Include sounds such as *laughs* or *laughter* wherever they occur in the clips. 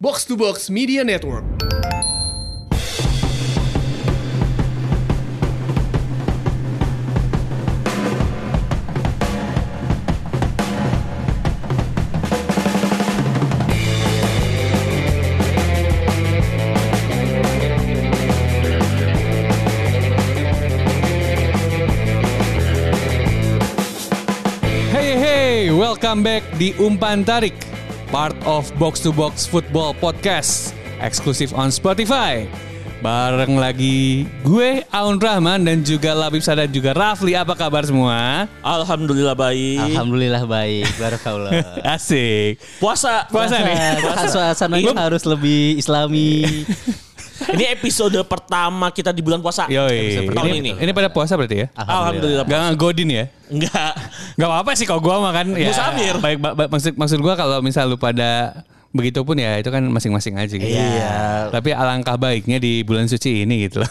Box to Box Media Network. Hey hey, welcome back di Umpan Tarik, part of Box to Box Football Podcast, eksklusif on Spotify. Bareng lagi gue Aun Rahman dan juga Labib Sada juga Rafli. Apa kabar semua? Alhamdulillah baik. Alhamdulillah baik, barokallah. Asik. Puasa. Puasa nih. Maka suasananya harus lebih islami. Ini episode pertama kita di bulan puasa. Yoi. Tahun Ini, ini. ini pada puasa berarti ya? Alhamdulillah. Gak ngodin ya? Enggak. Gak apa-apa sih kalau gue makan ya. Musafir. Baik, ba- ba- maksud maksud gue kalau misal lu pada begitu pun ya itu kan masing-masing aja gitu. Iya. Tapi alangkah baiknya di bulan suci ini gitu loh.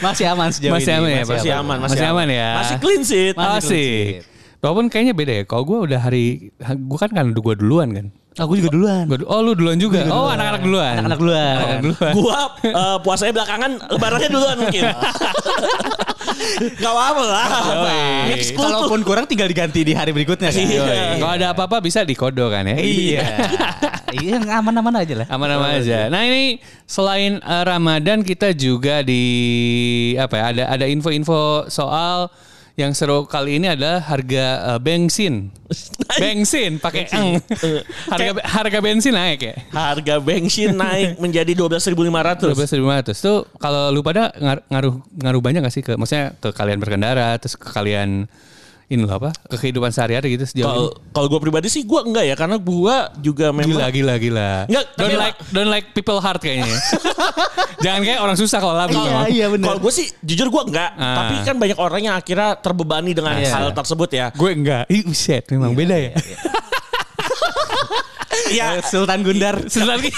Masih aman sejauh masih ini. aman ya, Masih Pak? aman, masih, masih aman. ya. Masih clean sheet. Masih clean Asik. sheet. Walaupun kayaknya beda ya. Kalau gue udah hari, gue kan kan gue duluan kan. Aku juga duluan. Gua, du- oh lu duluan juga. Oh anak-anak duluan. Anak-anak duluan. Anak-anak duluan. Gua eh, puasanya belakangan, lebarannya duluan mungkin. Gak apa-apa lah. Yoi. Mix kultur. Kalaupun kurang tinggal diganti di hari berikutnya kan. Iya. Yoi. Oh, Kalau ada apa-apa bisa dikodo kan ya. Iya. *laughs* Iya, yang aman-aman aja lah. Iya. Aman-aman aja. Nah ini selain eh, Ramadan kita juga di apa ya ada ada info-info soal yang seru kali ini adalah harga eh, bensin. bensin pakai eng. harga harga bensin naik ya. Harga bensin naik menjadi 12.500. 12.500 tuh kalau lu pada ngar- ngaruh ngaruh banyak gak sih ke maksudnya ke kalian berkendara terus ke kalian ini loh apa ke kehidupan sehari-hari gitu Kalau sejauh ini. kalau gue pribadi sih gue enggak ya karena gue juga Gila memang gila gila. Nggak, tapi don't emang- like don't like people hard kayaknya. ya. Jangan kayak orang susah kalau labu. Iya, Bang. iya benar. kalau gue sih jujur gue enggak, Ah. tapi kan banyak orang yang akhirnya terbebani dengan Iya. hal tersebut ya. Gue enggak. Ih, shit, memang beda ya. Iya, Eh, Sultan Gundar. Sebentar lagi.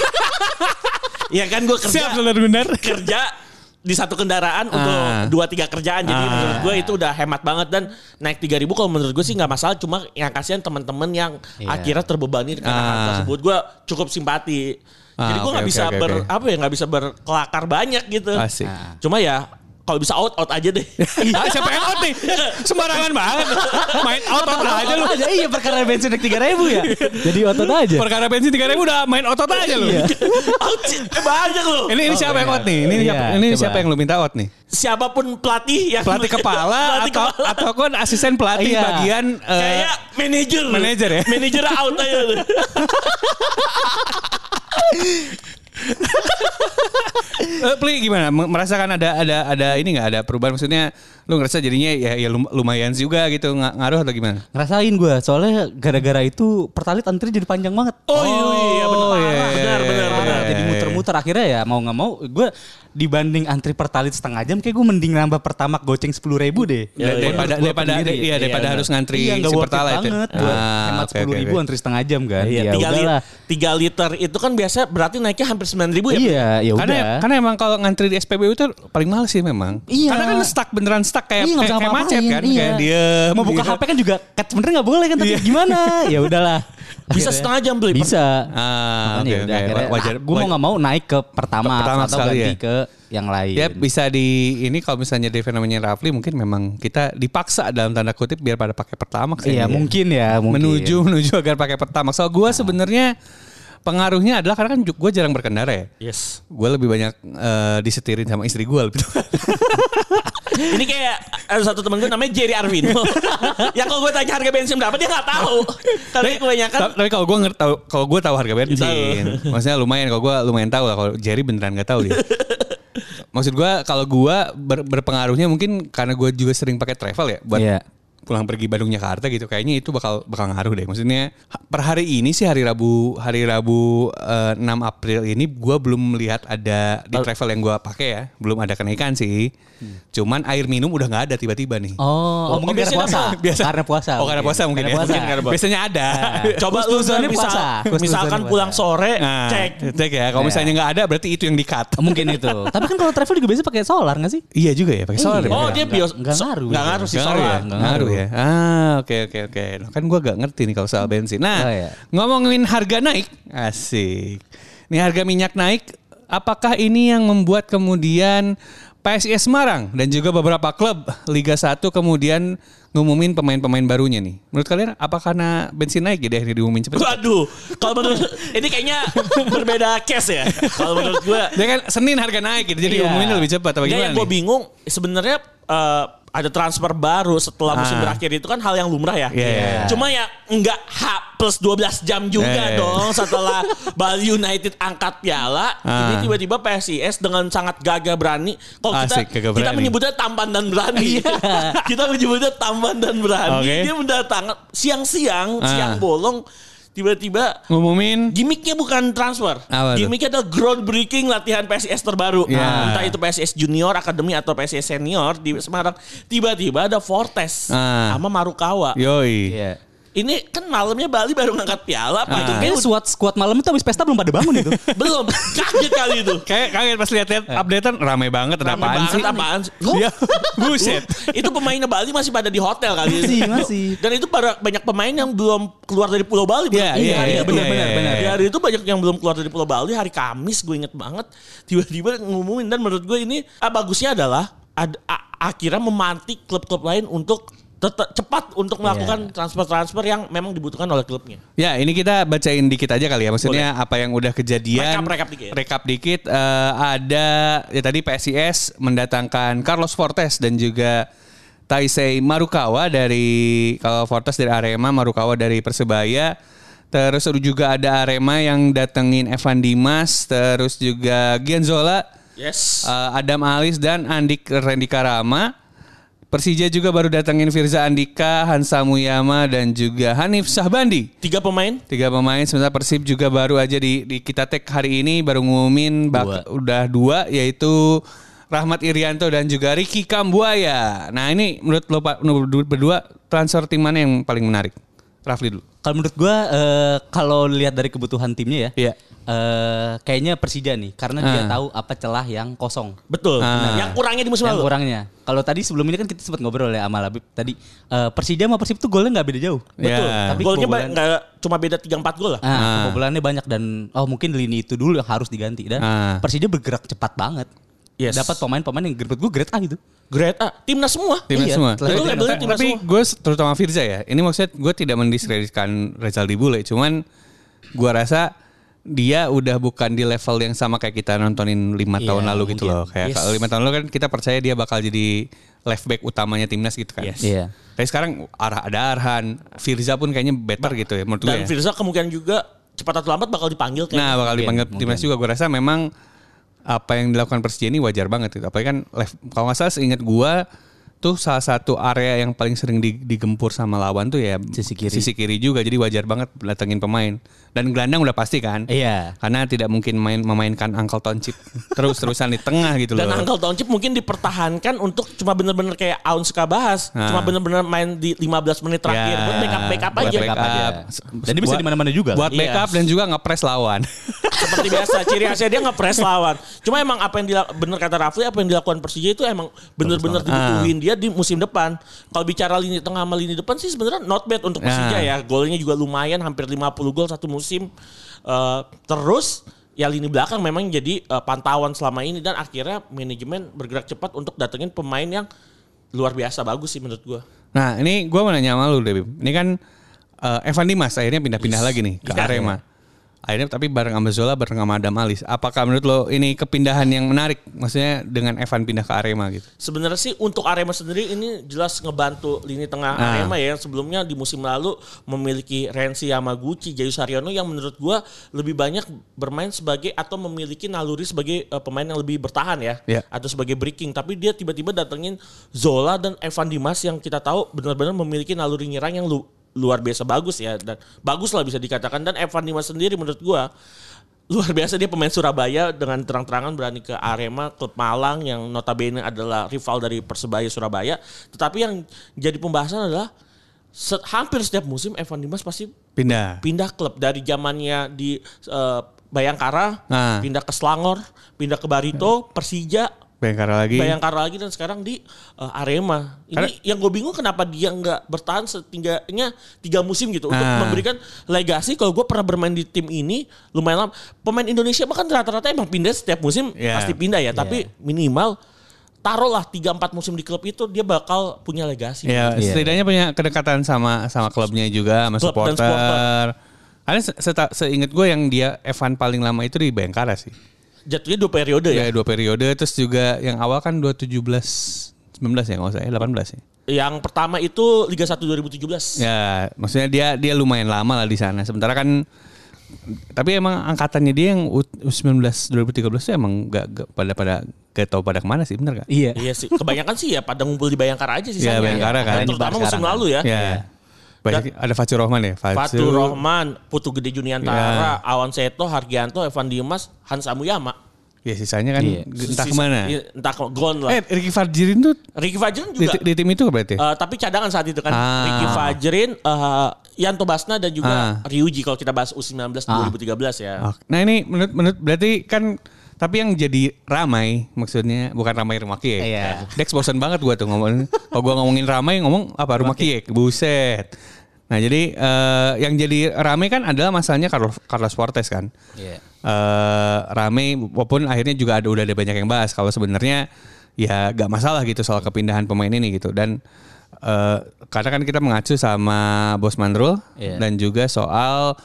ya kan gue kerja. Siap Saudara Benar. kerja di satu kendaraan untuk Ah. dua tiga kerjaan jadi Ah. menurut gue itu udah hemat banget dan naik 3000 ribu kalau menurut gue sih nggak masalah cuma yang kasihan teman-teman yang Iya. akhirnya terbebani karena hal Ah. tersebut gue cukup simpati Ah, jadi gue oke, nggak oke, bisa oke, ber oke. apa ya nggak bisa berkelakar banyak gitu Asik. cuma ya kalau bisa out out aja deh *laughs* Ah, siapa yang out nih? Sembarangan banget. Main otot aja lu. Aja iya perkara bensin naik 3000 ya. Jadi otot aja. Perkara bensin 3000 udah main otot aja lu. *laughs* out sih. Eh, banyak loh Ini ini Oh, siapa yang iya. out nih? Ini Iya, siapa, ini coba. siapa yang lu minta out nih? siapapun pelatih yang pelatih kepala *laughs* Pelatih atau kepala. atau kan asisten pelatih Iya. bagian eh, kayak manajer manajer ya? manajer out aja *laughs* tuh. eh, Pli gimana Me- merasakan ada ada ada ini nggak ada perubahan maksudnya lu ngerasa jadinya ya ya lum- lumayan juga gitu nga- ngaruh atau gimana? Ngerasain gue soalnya gara-gara itu pertalit antri jadi panjang banget. Oh, iya, benar, iya, iya, benar, iya, benar, iya, benar. iya, jadi iya. muter-muter akhirnya ya mau nggak mau gue dibanding antri pertalit setengah jam kayak gue mending nambah pertama goceng sepuluh ribu deh Da- iya. daripada Menurut gua daripada pendiri. iya daripada Iya, harus ngantri iya nggak si worth it pertalite itu. banget buat hemat oke, sepuluh oke, ribu oke. antri setengah jam kan Iya, ya tiga, udahlah li- tiga liter itu kan biasa berarti naiknya hampir sembilan ribu ya. iya ya Karena udah karena emang kalau ngantri di SPBU itu paling males sih memang. Iya. Karena kan stuck beneran stuck kayak Iya, nggak kayak, bisa kayak macet ngapa-ngapain, kan iya. kayak gitu. Ah, Iya. dia mau buka HP kan juga kat sebenernya nggak boleh kan tapi gimana ya *laughs* udahlah Bisa Akhirnya. setengah jam beli. Iya. bisa Ah, Makanya oke, ya udah oke. akhirnya Wajar- gue mau nggak mau naik ke pertama, Ke pertama atau sekali ganti ya. ke yang lain Ya bisa di ini kalau misalnya dari fenomenanya Rafli mungkin memang kita dipaksa dalam tanda kutip biar pada pakai pertamax ya. Iya, mungkin ya mungkin. menuju menuju agar pakai pertamax. So gue sebenarnya pengaruhnya adalah karena kan gue jarang berkendara ya. Yes. Gue lebih banyak eh, disetirin sama istri gitu. gue lebih tepat. Ini kayak ada satu temen gue namanya Jerry Arvino. ya kalau gue tanya harga bensin berapa dia nggak tahu. Tapi kebanyakan Ta- Tapi kalau gue ngerti tahu- kalau gue tahu harga bensin, Tahu. maksudnya lumayan kalau gue lumayan tahu lah kalau Jerry beneran gak tahu dia. Maksud gue kalau gue ber- berpengaruhnya mungkin karena gue juga sering pakai travel ya buat Iya. pulang pergi Bandung Jakarta gitu kayaknya itu bakal bakal ngaruh deh maksudnya ha- per hari ini sih hari Rabu hari Rabu eh, 6 April ini gue belum melihat ada di travel yang gue pakai ya belum ada kenaikan sih cuman air minum udah nggak ada tiba-tiba nih Oh, Oh, mungkin biasanya karena puasa. apa? Biasa. Karena puasa. oh karena puasa mungkin, ya. Karena puasa. biasanya ada coba lu Husnuzonnya misal, puasa. Husnuzonnya misalkan puasa. pulang sore Nah, cek. Cek ya. Kalau misalnya nggak ada berarti itu yang di-cut. mungkin itu. Tapi kan kalau travel juga biasa pakai solar nggak sih? Iya juga ya pakai solar. Iya. ya. Oh dia Nggak- bios nggak ngaruh. nggak ngaruh sih Nggak ngaruh solar. ya? Nggak ngaruh ya? ya. Ah, oke oke oke. Nah, Kan gua gak ngerti nih kalau soal bensin. Nah, Oh, iya. ngomongin harga naik, asik. Nih harga minyak naik, apakah ini yang membuat kemudian PSIS Semarang dan juga beberapa klub Liga 1 kemudian ngumumin pemain-pemain barunya nih. Menurut kalian apa karena bensin naik jadi akhirnya diumumin cepet? Waduh, kalau menurut ini kayaknya berbeda case ya. Kalau menurut gue, Dia kan Senin harga naik gitu, jadi Iya. umuminnya lebih cepat apa Nggak, gimana yang gue nih? bingung sebenarnya eh, ada transfer baru setelah musim Ah. berakhir itu kan hal yang lumrah ya. Iya. Cuma ya nggak H plus 12 jam juga Iya. dong *laughs* setelah Bali United angkat piala. Ini Ah. tiba-tiba PSIS dengan sangat gagah berani. Kalau kita, Asik, gagah kita berani. Iya. menyebutnya tampan dan berani. *laughs* kita menyebutnya tampan dan berani. Oke. Dia mendatangkan siang-siang, Ah. siang bolong. Tiba-tiba Ngumumin Gimiknya bukan transfer. Apa tuh? Gimiknya adalah groundbreaking latihan PSIS terbaru. Nah, Ya. Entah itu PSIS junior, akademi atau PSIS senior di Semarang. Tiba-tiba ada Fortes Ah. sama Marukawa. Yoi. Iya. Ini kan malamnya Bali baru ngangkat piala, Ah. paginya Kayaknya udah- squad squad malam itu habis pesta belum pada bangun *laughs* itu. belum kaget kali itu. Kayak kaget pas lihat-lihat updatean ramai banget ada Rame apaan banget, sih? apaan sih? Loh, *laughs* Iya. Buset. itu pemainnya Bali masih pada di hotel kali Masih, masih. Dan itu para banyak pemain yang belum keluar dari Pulau Bali. Iya, iya, Bener, iya, bener, iya, bener, iya, bener. iya. Di hari itu banyak yang belum keluar dari Pulau Bali. Hari Kamis gue inget banget. Tiba-tiba ngumumin. Dan menurut gue ini ah, bagusnya adalah ad- a- akhirnya memantik klub-klub lain untuk tetap cepat untuk melakukan transfer-transfer yang memang dibutuhkan oleh klubnya. Ya, ini kita bacain dikit aja kali ya. Maksudnya apa yang udah kejadian. Rekap, rekap dikit. Rekap dikit. eh, ada ya tadi PSIS mendatangkan Carlos Fortes dan juga Taisei Marukawa dari kalau Fortes dari Arema, Marukawa dari Persebaya. Terus juga ada Arema yang datengin Evan Dimas, terus juga Gianzola Yes. Uh, Adam Alis dan Andik Rendika Rama. Persija juga baru datangin Firza Andika, Hansa Muyama dan juga Hanif Sahbandi. Tiga pemain. Tiga pemain sementara Persib juga baru aja di, di kita tag hari ini baru ngumumin bak- udah dua yaitu Rahmat Irianto dan juga Ricky Kambuaya. Nah ini menurut lo Pak- menurut berdua transfer tim mana yang paling menarik? Rafli dulu. Kalau menurut gua eh, kalau lihat dari kebutuhan timnya ya, Iya. eh, kayaknya Persija nih karena dia Ah. tahu apa celah yang kosong. Betul. Ah. Nah, Yang kurangnya di musim Yang lalu. kurangnya. Kalau tadi sebelum ini kan kita sempat ngobrol ya sama Labib tadi eh, Persija sama Persib tuh golnya nggak beda jauh. Iya. Betul. Tapi Golnya ba- kebobolan- nggak cuma beda 3-4 gol lah. Ah, kebobolannya banyak dan oh mungkin lini itu dulu yang harus diganti dan Ah. Persija bergerak cepat banget. Yes. Dapat pemain-pemain yang menurut gue grade A gitu. Grade A. Ah, Timnas semua. Timnas Iya, semua. betul, Tapi- labelnya tapi- timnas tapi semua. gue terutama Firza ya. Ini maksudnya gue tidak mendiskreditkan Rezaldi Bule, cuman gue rasa dia udah bukan di level yang sama kayak kita nontonin Iya, lima tahun lalu gitu loh. Kayak kalau lima tahun lalu kan kita percaya dia bakal jadi left back utamanya timnas gitu kan. Yes. Iya. Tapi sekarang arah ada Arhan, Firza pun kayaknya better gitu ya menurut gue. Dan ya. Firza kemungkinan juga cepat atau lambat bakal Nah, dipanggil Iya, kayak bakal dipanggil timnas juga gue rasa memang apa yang dilakukan Persija ini wajar banget gitu. Apalagi kan left, kalau nggak salah seingat gue tuh salah satu area yang paling sering di- digempur sama lawan tuh ya Sisi kiri. juga. Jadi wajar banget datengin pemain. Dan gelandang udah pasti kan. Iya. Karena tidak mungkin main memainkan Uncle *laughs* Toncip terus-terusan di tengah gitu dan loh. Uncle Township mungkin dipertahankan untuk cuma bener-bener kayak Aun suka bahas, Nah. Iya. cuma bener-bener main di 15 menit terakhir buat backup backup Ya, buat aja backup. aja. Dan dia bisa Buat- di mana-mana juga. Buat Iya. backup dan juga ngepres lawan. *laughs* seperti biasa. Ciri khasnya dia ngepres lawan. Cuma emang apa yang dilak- bener kata Rafli apa yang dilakukan Persija itu emang bener-bener dibutuhin dia di musim depan. Kalau bicara lini tengah sama lini depan sih sebenarnya not bad untuk Persija Nah. ya. Golnya juga lumayan hampir 50 gol satu musim. Eh, terus ya lini belakang memang jadi eh, pantauan selama ini dan akhirnya manajemen bergerak cepat untuk datengin pemain yang luar biasa bagus sih menurut gua. Nah ini gue mau nanya sama lu deh Bim. Ini kan eh, Evan Dimas akhirnya pindah-pindah lagi nih ke Iya. Arema. Akhirnya tapi bareng sama Zola, bareng sama Adam Alis. Apakah menurut lo ini kepindahan yang menarik? Maksudnya dengan Evan pindah ke Arema gitu. Sebenarnya sih untuk Arema sendiri ini jelas ngebantu lini tengah Ah. Arema ya yang sebelumnya di musim lalu memiliki Renzi Yamaguchi, Jayu Saryono yang menurut gua lebih banyak bermain sebagai atau memiliki naluri sebagai eh, pemain yang lebih bertahan ya Iya. atau sebagai breaking tapi dia tiba-tiba datengin Zola dan Evan Dimas yang kita tahu benar-benar memiliki naluri nyerang yang lu- luar biasa bagus ya dan bagus lah bisa dikatakan dan Evan Dimas sendiri menurut gua luar biasa dia pemain Surabaya dengan terang-terangan berani ke Arema klub Malang yang notabene adalah rival dari Persebaya Surabaya tetapi yang jadi pembahasan adalah se- hampir setiap musim Evan Dimas pasti Pindah. pindah klub dari zamannya di eh, Bayangkara Nah. pindah ke Selangor pindah ke Barito Persija Bayangkara lagi. Bayangkara lagi dan sekarang di eh, Arema. Ini Karena- yang gue bingung kenapa dia nggak bertahan setidaknya tiga musim gitu untuk Nah. memberikan legasi. Kalau gue pernah bermain di tim ini lumayan lama. Pemain Indonesia bahkan rata-rata emang pindah setiap musim Yeah. pasti pindah ya. Tapi Iya. minimal taruhlah tiga empat musim di klub itu dia bakal punya legasi. Ya, Iya. setidaknya punya kedekatan sama sama klubnya juga, sama Klub supporter. dan supporter. Karena se- seta- seingat gue yang dia Evan paling lama itu di Bayangkara sih. Jatuhnya dua periode ya. Ya dua periode terus juga yang awal kan 2017 19 ya nggak usah ya 18 ya. Yang pertama itu Liga 1 2017. Ya maksudnya dia dia lumayan lama lah di sana. Sementara kan tapi emang angkatannya dia yang U- U19 2013 tuh emang gak, gak- pada pada gak tau pada kemana sih bener gak? Iya. Iya sih, kebanyakan sih ya pada ngumpul di Bayangkara aja sih. ya. Iya, Bayangkara kan. Terutama Ini musim Bayangkara. lalu ya. Ya. Banyak, ada Fatur Rahman ya? Fatur Rohman, Putu Gede Iya. Juniantara, Awan Seto, Hargianto, Evan Dimas, Hans Amuyama. Ya sisanya kan Iya. entah Sis- kemana. iya, Entah ke gone lah. Eh Ricky Fadjirin tuh Ricky Fajrin di, juga. di tim itu berarti? eh, tapi cadangan saat itu kan. Ah. Ricky Fajrin, eh, Yanto Basna dan juga Ah. Ryuji kalau kita bahas U19 2013 ya. Oke. Nah ini menurut menurut berarti kan tapi yang jadi ramai maksudnya bukan ramai rumah kiek. Iya. Dex bosan banget gua tuh ngomongin. Kalau gua ngomongin ramai ngomong apa rumah kiek. Buset. Nah jadi eh, yang jadi ramai kan adalah masalahnya Carlos, Carlos Fortes kan. Iya. eh rame walaupun akhirnya juga ada udah ada banyak yang bahas kalau sebenarnya ya gak masalah gitu soal kepindahan pemain ini gitu dan eh karena kan kita mengacu sama bos Mandrul Iya. dan juga soal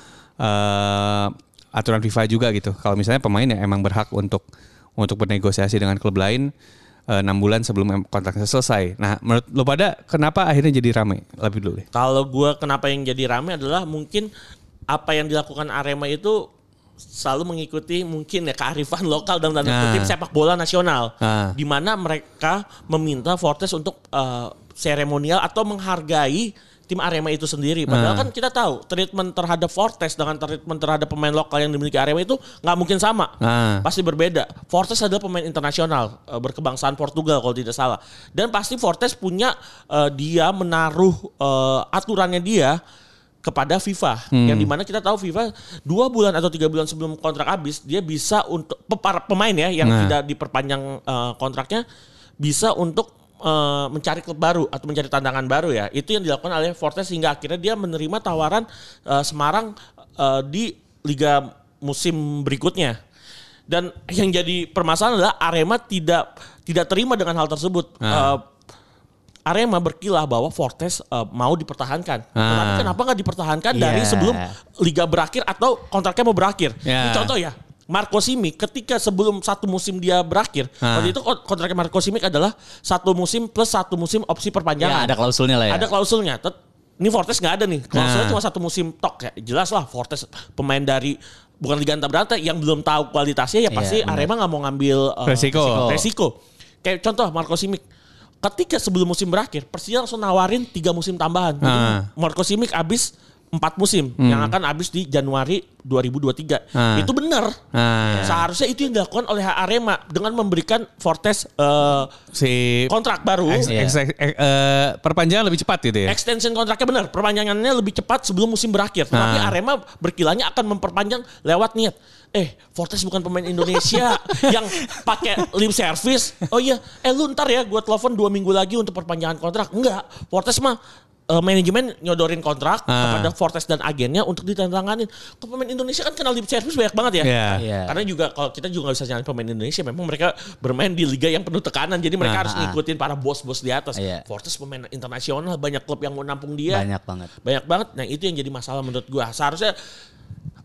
eh aturan FIFA juga gitu kalau misalnya pemain yang emang berhak untuk untuk bernegosiasi dengan klub lain eh, enam bulan sebelum em- kontraknya selesai nah menurut lo pada kenapa akhirnya jadi rame lebih dulu deh Kalau gua kenapa yang jadi rame adalah mungkin apa yang dilakukan Arema itu selalu mengikuti mungkin ya kearifan lokal dalam tanda Nah. kutip sepak bola nasional, Nah. di mana mereka meminta Fortes untuk eh, seremonial atau menghargai tim Arema itu sendiri. Nah. Padahal kan kita tahu treatment terhadap Fortes dengan treatment terhadap pemain lokal yang dimiliki Arema itu nggak mungkin sama Nah. pasti berbeda. Fortes adalah pemain internasional eh, berkebangsaan Portugal kalau tidak salah. Dan pasti Fortes punya eh, dia menaruh eh, aturannya dia kepada FIFA yang dimana kita tahu FIFA dua bulan atau tiga bulan sebelum kontrak habis dia bisa untuk pe- para pemain ya yang Nah. tidak diperpanjang eh, kontraknya bisa untuk eh, mencari klub baru atau mencari tantangan baru ya itu yang dilakukan oleh Fortes hingga akhirnya dia menerima tawaran eh, Semarang eh, di Liga musim berikutnya dan yang jadi permasalahan adalah Arema tidak tidak terima dengan hal tersebut. Eh, Arema berkilah bahwa Fortes eh, mau dipertahankan. Tetapi Ah. kenapa nggak dipertahankan dari Iya. sebelum liga berakhir atau kontraknya mau berakhir? Ya. Ini contoh ya. Marco Simic ketika sebelum satu musim dia berakhir, Ah. waktu itu kon- kontraknya Marco Simic adalah satu musim plus satu musim opsi perpanjangan. Ya, ada klausulnya lah ya. Ada klausulnya. Tet- Ini Fortes nggak ada nih. Iya. Nah. Klausulnya cuma satu musim tok ya. Jelas lah Fortes pemain dari bukan Liga Anta Beranta yang belum tahu kualitasnya ya pasti Iya, benar. Arema nggak mau ngambil uh, Resiko. resiko. Kayak contoh Marco Simic. Ketika sebelum musim berakhir, Persija langsung nawarin tiga musim tambahan. Jadi Ah. Marco Simic habis empat musim Hmm. yang akan habis di Januari 2023. Ah. Itu benar. Ah. Seharusnya itu yang dilakukan oleh Arema dengan memberikan Fortes uh, si kontrak baru. ex- ex- ex- eh, perpanjangan lebih cepat gitu ya Extension kontraknya benar, perpanjangannya lebih cepat sebelum musim berakhir. Tapi Ah. Arema berkilanya akan memperpanjang lewat niat. Eh, Fortes bukan pemain *laughs* Indonesia yang pakai lip service. Oh iya, eh lu ntar ya, gue telepon dua minggu lagi untuk perpanjangan kontrak. Enggak, Fortes mah eh, manajemen nyodorin kontrak Ah. kepada Fortes dan agennya untuk ditandatangani. Ke pemain Indonesia kan kenal lip service banyak banget ya. Iya. Iya. Karena juga kalau kita juga nggak bisa nyalain pemain Indonesia, memang mereka bermain di liga yang penuh tekanan, jadi Nah. mereka Ah, harus ah. ngikutin para bos-bos di atas. Iya. Fortes pemain internasional banyak klub yang mau nampung dia Banyak banget. banyak banget nah itu yang jadi masalah menurut gua seharusnya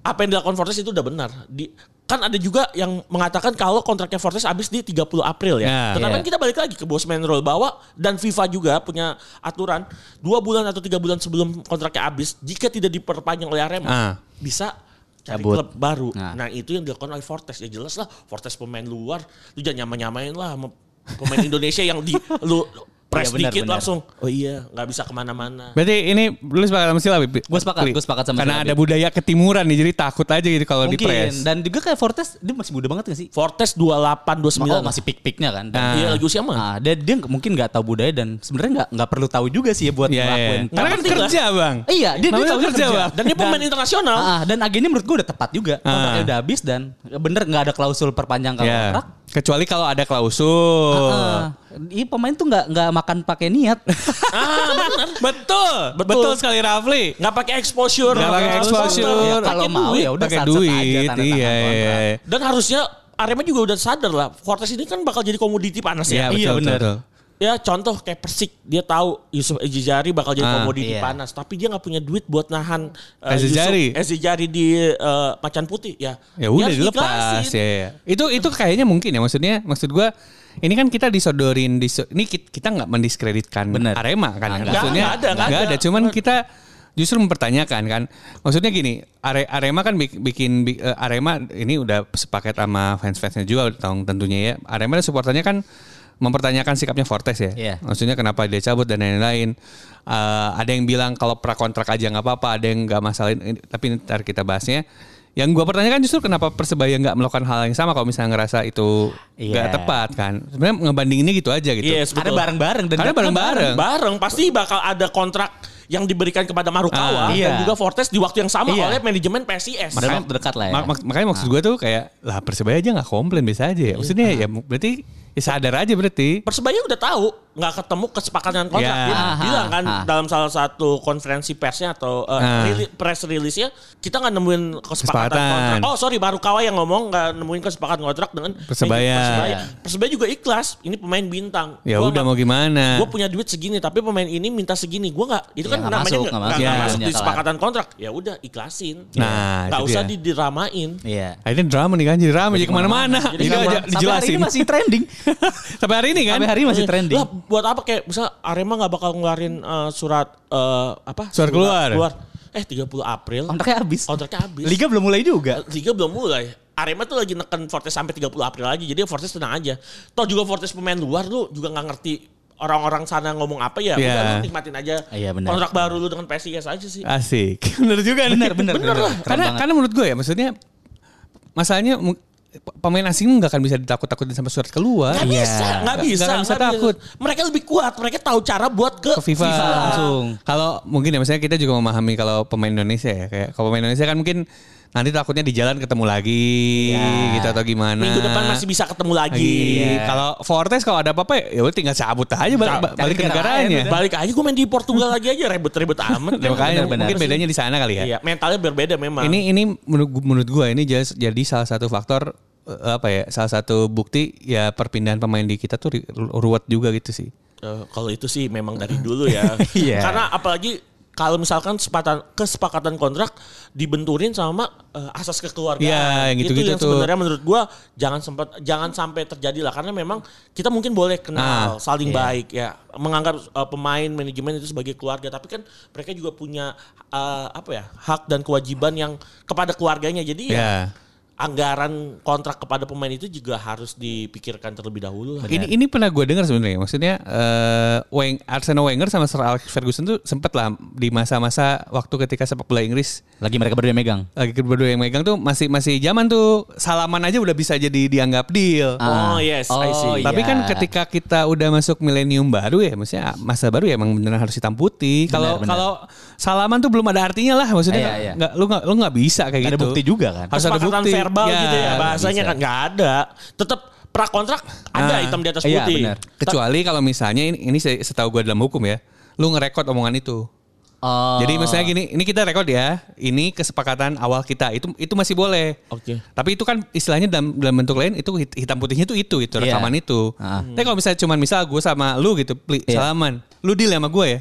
apa yang dilakukan Fortes itu udah benar di kan ada juga yang mengatakan kalau kontraknya Fortes habis di 30 April ya. Ya. Tetapi Iya. kan kita balik lagi ke Bosman Roll bahwa dan FIFA juga punya aturan dua bulan atau tiga bulan sebelum kontraknya habis jika tidak diperpanjang oleh Arema Ah. bisa cari Cabut. klub baru. Nah. Nah. itu yang dilakukan oleh Fortes ya jelas lah Fortes pemain luar lu jangan nyama-nyamain lah sama pemain Indonesia yang di lu press Iya, benar, dikit benar. langsung oh iya nggak bisa kemana-mana. Berarti ini lu sepakat sama Sila, Bib? Gua sepakat, Kli. gua sepakat sama Karena Sila, ada Bib. budaya ketimuran nih, jadi takut aja gitu kalau di Mungkin. press. Dan juga kayak Fortes, dia masih muda banget gak sih? Fortes 28 Oh, 29 masih pik-piknya kan. Dan- Ah. Iya lagi usia mah. Nah, dia, dia mungkin nggak tahu budaya dan sebenarnya nggak nggak perlu tahu juga sih ya buat Iya, iya. ngelakuin. Karena kan penting lah. kerja, Bang. Iya, dia, dia Namanya tahu dia kerja, Bang. Dan dia pemain internasional. Ah, ah, dan agennya menurut gue udah tepat juga. Kontraknya Ah. udah habis dan bener nggak ada klausul perpanjang Iya. kontrak. Kecuali kalau ada klausul. Ah, Iya pemain tuh nggak nggak makan pakai niat. ah benar Betul, betul, Betul. sekali Rafli. nggak pakai exposure Gak pakai Harus exposure. mantap. Ya, kalau Pakai mau duit. ya udah pakai sunset aja duit. tanda tangan Iya, iya, kontrak. iya. dan harusnya Arema juga udah sadar lah Cortez ini kan bakal jadi komoditi panas Iya, ya betul, Iya, betul, bener. betul. ya contoh kayak Persik dia tahu Yusuf Ejizari bakal jadi Ah, komoditi iya. panas tapi dia nggak punya duit buat nahan uh, Ejizari. Yusuf Ejizari di uh, Macan Putih ya Ya udah Dia harus dilepas dikasih. ya, ya. Itu itu kayaknya mungkin ya maksudnya maksud gua ini kan kita disodorin diso- ini kit- kita nggak mendiskreditkan Bener. Arema kan. Nggak, maksudnya nggak ada, nggak nggak ada. ada. Iya, cuman kita justru mempertanyakan kan. Maksudnya gini, Are- Arema kan bik- bikin bi- eh, Arema ini udah sepaket sama fans-fansnya juga tong tentunya ya. Arema dan supporternya kan mempertanyakan sikapnya Fortes ya. Iya. Maksudnya kenapa dia cabut dan lain-lain. Eh, ada yang bilang kalau prakontrak aja nggak apa-apa, ada yang nggak masalahin. Ini- Tapi ntar kita bahasnya. Yang gua pertanyakan justru kenapa persebaya nggak melakukan hal yang sama kalau misalnya ngerasa itu Iya. nggak tepat kan? Sebenarnya ngebandinginnya gitu aja gitu. Yes, Karena betul. bareng-bareng dan Karena datang bareng-bareng. bareng pasti bakal ada kontrak yang diberikan kepada Marukawa Ah, dan iya. juga Fortes di waktu yang sama Iya. oleh manajemen PSIS. Makanya- Karena waktu dekat lah ya. mak- mak- makanya maksud gue tuh kayak lah persebaya aja nggak komplain biasa aja. ya. Maksudnya ya Ah. mu- berarti ya sadar aja berarti. Persebaya udah tahu nggak ketemu kesepakatan kontrak. Ya. Dia Ah, bilang ah, kan ah. dalam salah satu konferensi persnya atau uh, Ah. rili- press release-nya kita nggak nemuin kesepakatan, Kesepakatan. kontrak. Oh sorry Marukawa yang ngomong nggak nemuin kesepakatan kontrak dengan Persebaya. Persebaya. Persebaya juga ikhlas. Ini pemain bintang. Ya Gua udah nggak- mau gimana? gue punya duit segini tapi pemain ini minta segini gue nggak itu Ya, kan nggak namanya masuk, nggak nggak nggak masuk. masuk, Iya. di kesepakatan kontrak ya udah ikhlasin Nah, nggak itu usah dia. didiramain Iya. Akhirnya drama nih kan jadi drama jadi kemana-mana. Jadi Ini Sampai- aja Sampai hari dijelasin. ini *laughs* masih trending. Sampai hari ini kan. Sampai hari ini masih Iya. trending. Lah, buat apa kayak misal Arema nggak bakal ngeluarin eh, surat eh, apa Surat keluar. eh 30 April Kontraknya habis. kontraknya habis Eh, Liga belum mulai juga. Liga belum mulai Arema tuh lagi neken Fortes sampai 30 April lagi jadi Fortes tenang aja toh juga Fortes pemain luar lu juga nggak ngerti orang-orang sana ngomong apa ya Iya. udah lu nikmatin aja Iya, benar. kontrak baru lu dengan PSIS aja sih Asik. *laughs* Bener juga nih. Bener, bener, bener. lah. Keren Karena banget. karena menurut gue ya maksudnya masalahnya mu- pemain asing nggak akan bisa ditakut-takutin sampai surat keluar. Gak Iya. bisa, gak bisa, Nggak bisa takut. Mereka lebih kuat, mereka tahu cara buat ke, ke FIFA, langsung. Kalau mungkin ya misalnya kita juga memahami kalau pemain Indonesia ya kayak kalau pemain Indonesia kan mungkin nanti takutnya di jalan ketemu lagi gitu atau gimana. Minggu depan masih bisa ketemu lagi. Iya. Kalau Fortes kalau ada apa-apa ya udah tinggal cabut aja Iya, bal- Cari balik ke negara negaranya. lain, Balik aja gue main di Portugal lagi aja ribet-ribet amat. Ya, *laughs* makanya Benar-benar. mungkin bedanya di sana kali ya. Iya, mentalnya berbeda memang. Ini ini menurut, menurut gua ini jas- jadi salah satu faktor eh, apa ya salah satu bukti ya perpindahan pemain di kita tuh ri- ruwet juga gitu sih. Eh, kalau itu sih memang *laughs* dari dulu ya. Iya. Karena apalagi kalau misalkan sepatan, kesepakatan kontrak dibenturin sama eh, asas kekeluargaan. Iya, yang gitu-gitu itu yang tuh. sebenarnya menurut gua jangan sempat jangan sampai terjadi lah karena memang kita mungkin boleh kenal, Ah, saling baik ya, menganggap eh, pemain manajemen itu sebagai keluarga, tapi kan mereka juga punya eh, apa ya, hak dan kewajiban yang kepada keluarganya. Jadi ya Ya. anggaran kontrak kepada pemain itu juga harus dipikirkan terlebih dahulu lah. Ini ini pernah gue dengar sebenarnya. Maksudnya eh Weng, Arsene Wenger sama Sir Alex Ferguson tuh sempet lah di masa-masa waktu ketika sepak bola Inggris Lagi mereka berdua yang megang. lagi berdua yang megang tuh masih masih zaman tuh salaman aja udah bisa jadi dianggap deal. Oh, Ah. yes, I see. Oh, Tapi iya. kan ketika kita udah masuk milenium baru ya, maksudnya masa baru ya emang beneran harus hitam putih. Kalau benar. kalau salaman tuh belum ada artinya lah, maksudnya Iya, nggak- iya. nggak- lu nggak lu nggak bisa kayak Nggak gitu. ada bukti juga kan? Harus ada Kesepakatan bukti. verbal gitu ya nggak bahasanya bisa. kan nggak ada. Tetap prakontrak ada Ah, hitam di atas iya, putih. benar. Kecuali kalau misalnya ini, ini se- setahu gue dalam hukum ya, lu ngerekod omongan itu. Oh. Jadi misalnya gini, ini kita rekod ya, ini kesepakatan awal kita itu itu masih boleh. Oke. Tapi itu kan istilahnya dalam, dalam bentuk lain itu hit- hitam putihnya itu itu itu Iya. rekaman itu. Ah. Tapi kalau misalnya cuman misal gue sama lu gitu, pli, Iya. salaman, lu deal sama gue ya,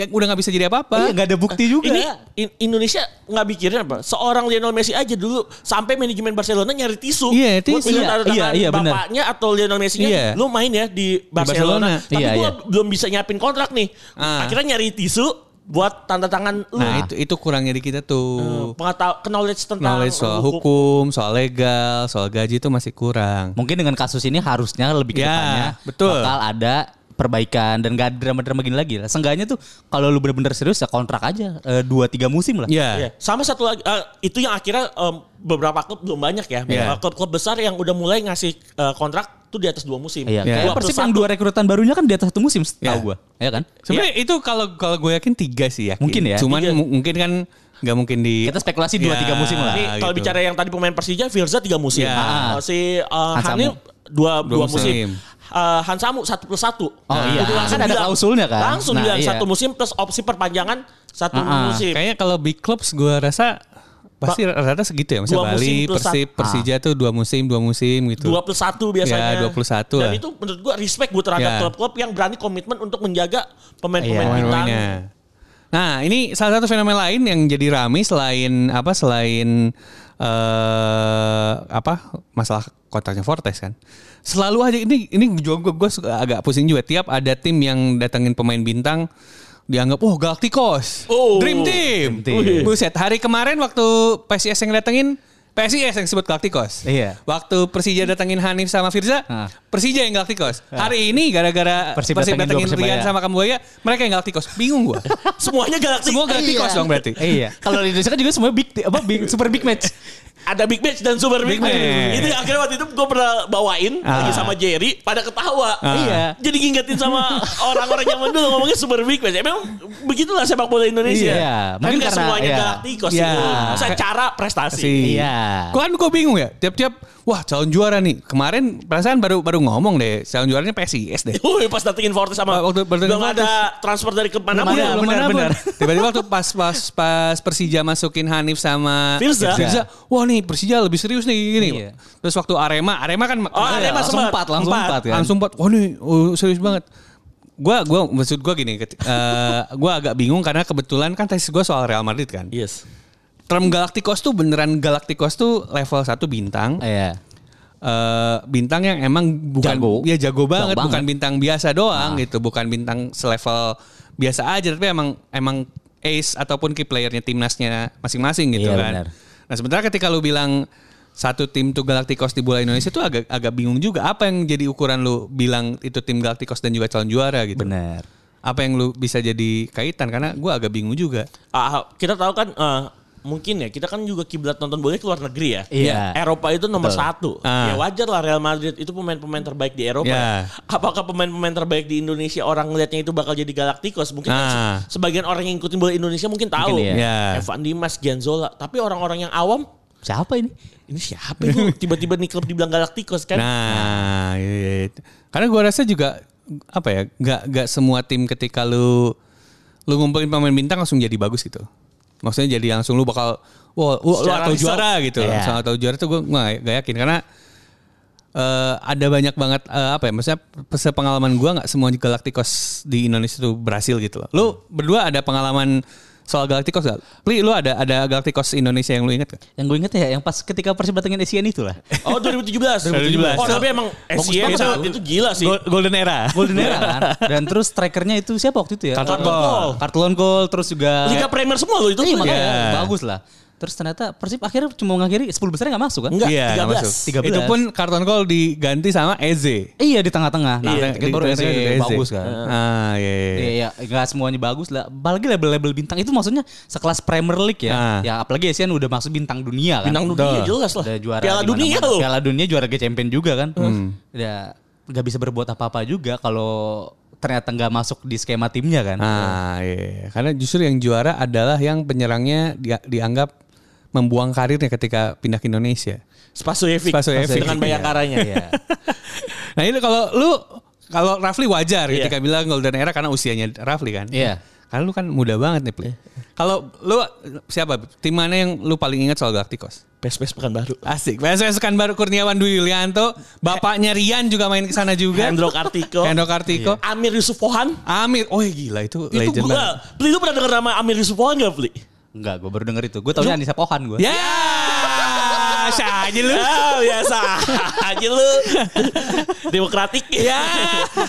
ya udah nggak bisa jadi Iya, apa-apa. nggak ada bukti juga. Ini in- Indonesia nggak mikirin apa? Seorang Lionel Messi aja dulu sampai manajemen Barcelona nyari tisu. Iya, Buat tisu. minta Iya, tanda tangan iya, iya, benar. bapaknya atau Lionel Messi Iya. nya lu main ya di Barcelona. Barcelona. Tapi Iya, gua iya. belum bisa nyiapin kontrak nih. Ah. Akhirnya nyari tisu buat tanda tangan lu. Nah itu itu kurangnya di kita tuh. Pengetahuan knowledge tentang Ah, Knowledge soal hukum, soal legal, soal gaji itu masih kurang. Mungkin dengan kasus ini harusnya lebih Ya, ke depannya betul. bakal ada perbaikan dan gak ada drama-drama gini lagi lah. Seenggaknya tuh kalau lu bener-bener serius ya kontrak aja 2 dua tiga musim lah. Iya. Iya. Sama satu lagi eh, itu yang akhirnya em, beberapa klub belum banyak ya. Iya. Eh, Klub-klub besar yang udah mulai ngasih eh, kontrak tuh di atas dua musim. Iya, Iya. kayak Dua Persib plus yang satu. dua rekrutan barunya kan di atas satu musim Iya. setahu gua. Ya kan? Sebenarnya itu kalau kalau gue yakin tiga sih yakin. Mungkin ya. Cuman Tiga. mu- mungkin kan nggak mungkin di. Kita spekulasi dua, Iya, tiga musim lah. Ini kalau gitu. bicara yang tadi pemain Persija Firza tiga musim. Iya. Eh, si eh, Hansamu. Hanif dua, dua, Dua musim. musim. Eh, Hansamu satu plus satu. Oh, iya. Udah Kan ada bilang- klausulnya kan? Langsung Nah, bilang iya. satu musim plus opsi perpanjangan satu Ah, ah. musim. Nah, Kayaknya kalau big clubs gue rasa pasti rata-rata segitu ya. Misalnya Dua musim Ah. Bali, plus Persib, satu. Persija tuh dua musim, dua musim gitu. Iya, 21 biasanya. Ya, 21 Dan lah. itu menurut gua respect gua terhadap Ya. klub-klub yang berani komitmen untuk menjaga Iya. pemain-pemain bintang. Pemain-pemainnya. Nah, ini salah satu fenomena lain yang jadi rame selain apa selain eh apa masalah kontraknya Fortes kan. Selalu aja ini ini juga gue agak pusing juga tiap ada tim yang datengin pemain bintang dianggap oh Galacticos, Oh. Dream Team. Dream Team. Iya. Buset, hari kemarin waktu PSIS yang datengin PSIS yang sebut Galacticos. Iya. Waktu Persija datengin Hanif sama Firza, Ah. Persija yang Galacticos. Hari ini gara-gara Eh, Persib Persib datengin dua datengin Persebaya. Rian sama Kamboya, mereka yang Galacticos. Bingung *laughs* gua. Semuanya Galactic. Semua Galacticos Iya. dong berarti. iya. Kalau di Indonesia kan juga semua big apa big, super big match. ada Big Match dan Super Big, Big Match. Match. Itu yang akhirnya waktu itu gue pernah bawain Ah. lagi sama Jerry pada ketawa. Iya. Jadi ngingetin *laughs* sama orang-orang zaman dulu ngomongnya Super Big Match. Emang begitulah sepak bola Indonesia. Iya. Mungkin Mungkin karena- semuanya iya. Galacticos Iya. itu. Secara prestasi. Iya. Gua kan gua bingung ya. Tiap-tiap wah calon juara nih. Kemarin perasaan baru baru ngomong deh calon juaranya PSIS deh. Woi pas datengin Fortes sama Waktu datengin belum ada transfer dari kemana pun. Belum ada, ya. Belum benar, ada pun. benar. Tiba-tiba waktu pas pas pas Persija masukin Hanif sama Firza. wah nih Persija lebih serius nih gini. Iya. Terus waktu Arema, Arema kan Oh, Arema langsung sempat. empat, langsung Empat. empat kan. langsung empat. Wah nih oh, serius banget. Gua gua maksud gua gini, keti- eh, gua agak bingung karena kebetulan kan tesis gua soal Real Madrid kan. Yes. Term Galacticos tuh beneran Galacticos tuh level 1 bintang. Iya. eh bintang yang emang bukan Jago. ya jago banget, banget. Nah. bukan bintang biasa doang gitu, bukan bintang selevel biasa aja tapi emang emang ace ataupun key playernya timnasnya masing-masing gitu Iya, kan. benar. Nah, sementara ketika lu bilang satu tim tuh Galacticos di bola Indonesia tuh agak agak bingung juga apa yang jadi ukuran lu bilang itu tim Galacticos dan juga calon juara gitu. Benar. Apa yang lu bisa jadi kaitan karena gua agak bingung juga. Ah, kita tahu kan eh, mungkin ya kita kan juga kiblat nonton bola ke luar negeri ya. Iya. Eropa itu nomor satu. Ah. Ya wajar lah Real Madrid itu pemain-pemain terbaik di Eropa. Ya. Apakah pemain-pemain terbaik di Indonesia orang ngelihatnya itu bakal jadi Galacticos? Mungkin kan Ah. se- sebagian orang yang ngikutin bola Indonesia mungkin tahu. Mungkin iya. Ya. Evan Dimas, Gianzola. Tapi orang-orang yang awam Siapa ini? ini siapa itu? Tiba-tiba nih klub dibilang Galacticos kan? Nah, iya, iya. karena gua rasa juga apa ya, nggak nggak semua tim ketika lu lu ngumpulin pemain bintang langsung jadi bagus gitu. Maksudnya jadi langsung lu bakal wah lu, lu Secara atau result. juara gitu. Iya. Langsung atau juara tuh gua nggak nggak yakin karena eh, ada banyak banget eh, apa ya maksudnya sepengalaman gua nggak semua Galacticos di Indonesia tuh berhasil gitu loh. Lu berdua ada pengalaman soal Galacticos gak? Pli, lu ada ada Galacticos Indonesia yang lu inget gak? Yang gue inget ya, yang pas ketika Persib datengin Asian itulah. Oh 2017. 2017. Oh tapi emang Bagus SCM banget. saat itu gila sih. Golden *laughs* Era. Golden Era kan. Dan terus strikernya itu siapa waktu itu ya? Carlton Carlton Goal. Goal. Carlton Goal terus juga Liga Premier semua loh itu. Iya, makanya Iya. bagus lah. Terus ternyata Persib akhirnya cuma ngakhiri 10 besarnya gak masuk kan? Enggak, Iya, nggak 13. masuk. 13. Itu pun karton gol diganti sama Eze. Iya di tengah-tengah. Nah, Iya, kan baru diganti akhirnya sama jadi bagus kan. Ah, iya. iya. Iya, iya, nggak semuanya bagus lah. Apalagi label-label bintang itu maksudnya sekelas Premier League ya. Ah. Ya apalagi Asian udah masuk bintang dunia kan. Bintang dunia jelas lah. Udah juara Piala di dunia mana-mana. loh. Hmm. Piala dunia juara Liga Champion juga kan. Ya nggak bisa berbuat apa-apa juga kalau ternyata nggak masuk di skema timnya kan. Ah, iya. Karena justru yang juara adalah yang penyerangnya dia- dianggap membuang karirnya ketika pindah ke Indonesia. Spasojevic. Spasojevic. Dengan bayakaranya. Iya. Nah, ini kalau lu kalau Rafli wajar Iya. ketika bilang Golden Era karena usianya Rafli kan. Iya. Karena lu kan muda banget nih, Pli. Kalau lu siapa? Tim mana yang lu paling ingat soal Galacticos? Pes-pes pekan baru. Asik. PSS kan baru Kurniawan Dwi Yulianto, bapaknya Rian juga main ke sana juga. Hendro Kartiko. Hendro Kartiko. Amir Yusuf Pohan. Amir, oh ya gila itu, Itu legend banget. gua. Pli lu pernah denger nama Amir Yusuf Pohan gak Pli? Enggak, gue baru denger itu. Gue taunya Anissa Pohan gue. Iya. Ya, *laughs* saya aja lu. Ah biasa *laughs* aja *laughs* lu. Demokratik. Ya.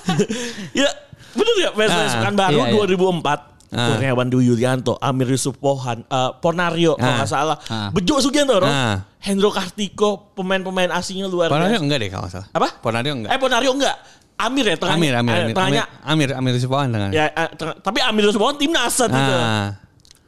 *laughs* ya bener ya Iya. Pes-pes Ah, pekan baru iya, iya. 2004. Ah. Kurniawan Dwi Yulianto, Amir Yusuf Pohan, eh, Ponario kalau Ah. nggak salah, Ah. Bejo Sugianto, Ah. Hendro Kartiko, pemain-pemain asingnya luar Ponario biasa. enggak deh kalau nggak salah. Apa? Ponario enggak. Eh Ponario enggak, Amir ya tengahnya, Amir, Amir, eh, Amir, tengahnya Amir, Amir, Amir Sipawan dengan. Ya, eh, teng- tapi Amir Yusufon timnas saat itu. Ah,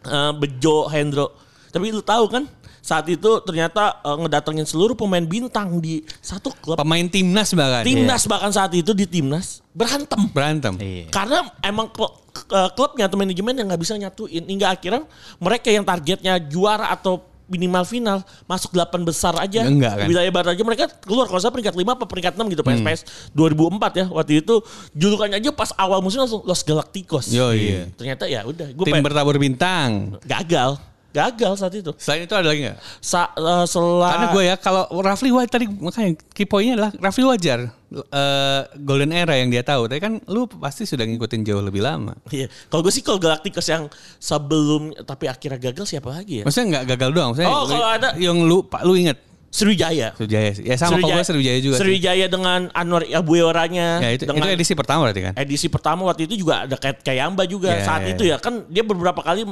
Eh, Bejo, Hendro. Tapi lu tahu kan saat itu ternyata eh, ngedatengin seluruh pemain bintang di satu klub. pemain timnas bahkan. timnas bahkan saat itu di timnas berantem. Berantem. Iya. Karena emang kl- k- eh, klubnya atau manajemen yang nggak bisa nyatuin. Hingga akhirnya mereka yang targetnya juara atau minimal final masuk 8 besar aja. Enggak kan? Hmm. Wilayah barat aja mereka keluar kalau saya peringkat 5 apa peringkat 6 gitu PSPS 2004 ya waktu itu julukannya aja pas awal musim langsung Los Galacticos. Yo, iya. Ternyata ya udah gue Tim bertabur bintang. gagal. Gagal saat itu. Selain itu ada lagi nggak? Sa eh, sela- Karena gue ya kalau Rafli wajar tadi makanya key point-nya adalah Rafli wajar eh, golden era yang dia tahu. Tapi kan lu pasti sudah ngikutin jauh lebih lama. Iya. Kalau gue sih kalau Galacticos yang sebelum tapi akhirnya gagal siapa lagi ya? Maksudnya nggak gagal doang. Maksudnya Oh, kalau ada- yang lu pak lu inget Sriwijaya. Sriwijaya sih. Ya sama kalau gue Sriwijaya juga. sih. Sriwijaya dengan Anwar Abuyoranya Ya itu, dengan itu edisi pertama berarti kan. edisi pertama waktu itu juga ada kayak Kayamba juga Iya, saat iya, itu ya kan dia beberapa kali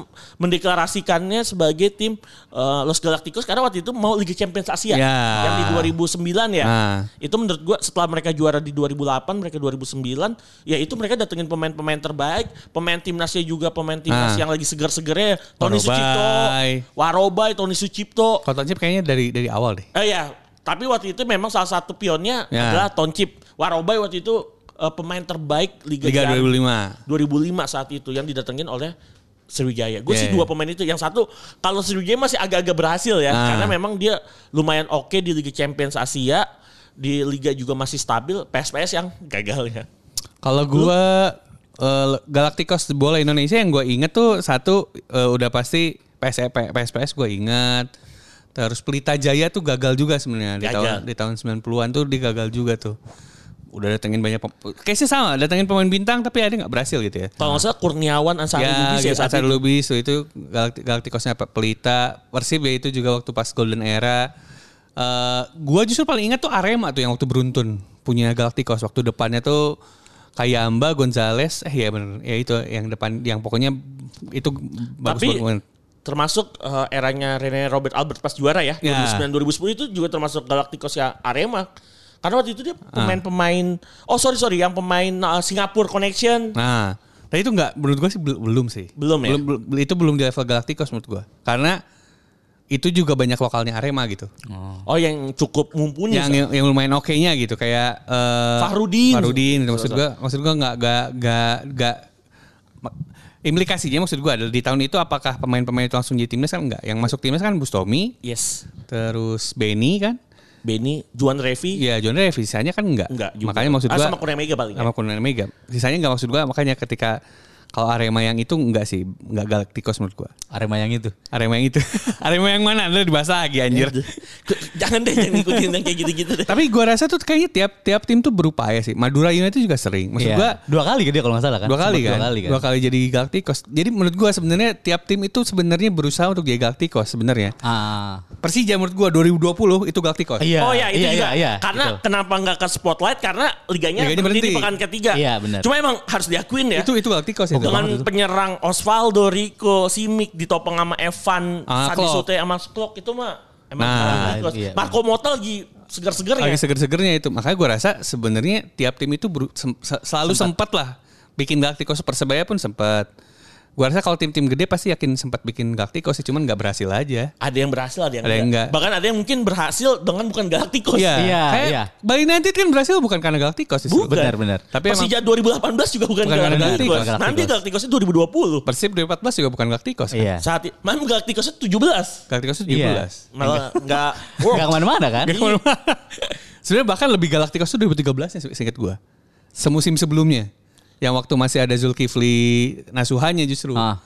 mendeklarasikannya sebagai tim eh, Los Galacticos karena waktu itu mau Liga Champions Asia Iya. yang di 2009 ya. Nah. Itu menurut gua setelah mereka juara di 2008, mereka 2009, ya itu mereka datengin pemain-pemain terbaik, pemain timnasnya juga pemain timnas Ah. yang lagi segar-segarnya Tony Warobai. Sucipto, Warobai, Tony Sucipto. Kontraknya kayaknya dari dari awal deh. Eh ya, tapi waktu itu memang salah satu pionnya Ya. adalah Toncip. Warobai waktu itu eh, pemain terbaik Liga, Liga Jaya 2005. 2005 saat itu yang didatengin oleh Sriwijaya. Gue sih Yeah. dua pemain itu. Yang satu kalau Sriwijaya masih agak-agak berhasil ya Ah. karena memang dia lumayan oke di Liga Champions Asia, di liga juga masih stabil. PSPS yang gagal ya. Kalau gue Galacticos bola Indonesia yang gue inget tuh satu eh, udah pasti E, PSP, PSPS gue inget. Terus Pelita Jaya tuh gagal juga sebenarnya di Gagal. tahun di tahun 90-an tuh digagal juga tuh. Udah datengin banyak pem- kayaknya sama, datengin pemain bintang tapi ada nggak berhasil gitu ya. Kalau nggak salah Kurniawan Ansari Ya, Lubis ya saat Asar itu. Lubis tuh, itu Galacti- Galacticosnya Pe- Pelita, Persib ya itu juga waktu pas Golden Era. Eh gua justru paling ingat tuh Arema tuh yang waktu beruntun punya Galacticos waktu depannya tuh Kayamba, Gonzales, eh ya bener, ya itu yang depan yang pokoknya itu bagus Tapi banget. termasuk eh, eranya Rene Robert Albert pas juara ya, Ya. 2009 2010 itu juga termasuk Galacticos ya Arema. Karena waktu itu dia pemain-pemain oh sorry sorry yang pemain eh, Singapura Connection Nah, tapi itu nggak menurut gua sih bel- belum sih. Belum ya? Belum, bel- itu belum di level Galacticos menurut gua. Karena itu juga banyak lokalnya Arema gitu. Oh yang cukup mumpuni. yang yang, yang lumayan oke-nya gitu kayak eh, Iya, Fahrudin. Fahrudin gitu. maksud gua maksud gua nggak nggak nggak nggak ma- implikasinya maksud gua adalah di tahun itu apakah pemain-pemain itu langsung jadi timnas kan enggak yang masuk timnas kan Bustomi Yes. terus Benny kan Benny, Juan Revi. ya John Revis sisanya kan enggak Enggak juga. makanya maksud Ah, gua sama Kurnia Mega paling ya? sama Kurnia Mega sisanya enggak maksud gua makanya ketika kalau Arema yang itu enggak sih enggak Galacticos menurut gua Arema yang itu. Arema yang itu *laughs* Arema yang mana lu dibahas lagi anjir *laughs* Iya, jangan deh jangan ngikutin yang kayak gitu-gitu deh. Tapi gua rasa tuh kayaknya tiap tiap tim tuh berupaya sih. Madura United juga sering. Maksud Iya. gua dua kali kan dia kalau nggak salah kan? dua kali Sempat kan? Dua kali kan? jadi Galacticos. Jadi menurut gua sebenarnya tiap tim itu sebenarnya berusaha untuk jadi Galacticos sebenarnya. Ah. Persija menurut gua 2020 itu Galacticos. Iya. oh ya itu iya, juga. Iya, iya, karena gitu. kenapa nggak ke spotlight? Karena liganya, Liganya berhenti di berhenti. pekan ketiga. Iya, benar. Cuma emang harus diakuin ya. Itu itu Galacticos itu. dengan penyerang Osvaldo, Rico, Simic ditopang sama Evan, Ah, Sadi Klok. Sote sama Klok itu mah emang Nah, terus. iya. Marco Mota lagi segar-segar ya. Lagi seger-segernya itu. Makanya gua rasa sebenarnya tiap tim itu beru- sem- se- selalu sempat lah bikin Galacticos Persebaya pun sempat. Gua rasa kalau tim-tim gede pasti yakin sempat bikin Galacticos sih, cuman nggak berhasil aja. Ada yang berhasil, ada yang, Ada yang enggak. enggak. Bahkan ada yang mungkin berhasil dengan bukan Galacticos. Iya, Iya, Kayak iya. Bali United kan berhasil bukan karena Galacticos sih. Bukan. Benar, benar. Tapi emang Persija 2018 juga bukan, Bukan Galacticos. Galacticos. Nanti Galacticosnya 2020. Persib 2014 juga bukan Galacticos kan? Iya. Saat itu, man Galacticosnya 17. Galacticos 17. Iya. Malah enggak Iya. Gak kemana-mana kan? Gak kemana-mana. Sebenarnya bahkan lebih Galacticos itu 2013 ya singkat gua. Semusim sebelumnya. Yang waktu masih ada Zulkifli Nasuhanya justru. Ah.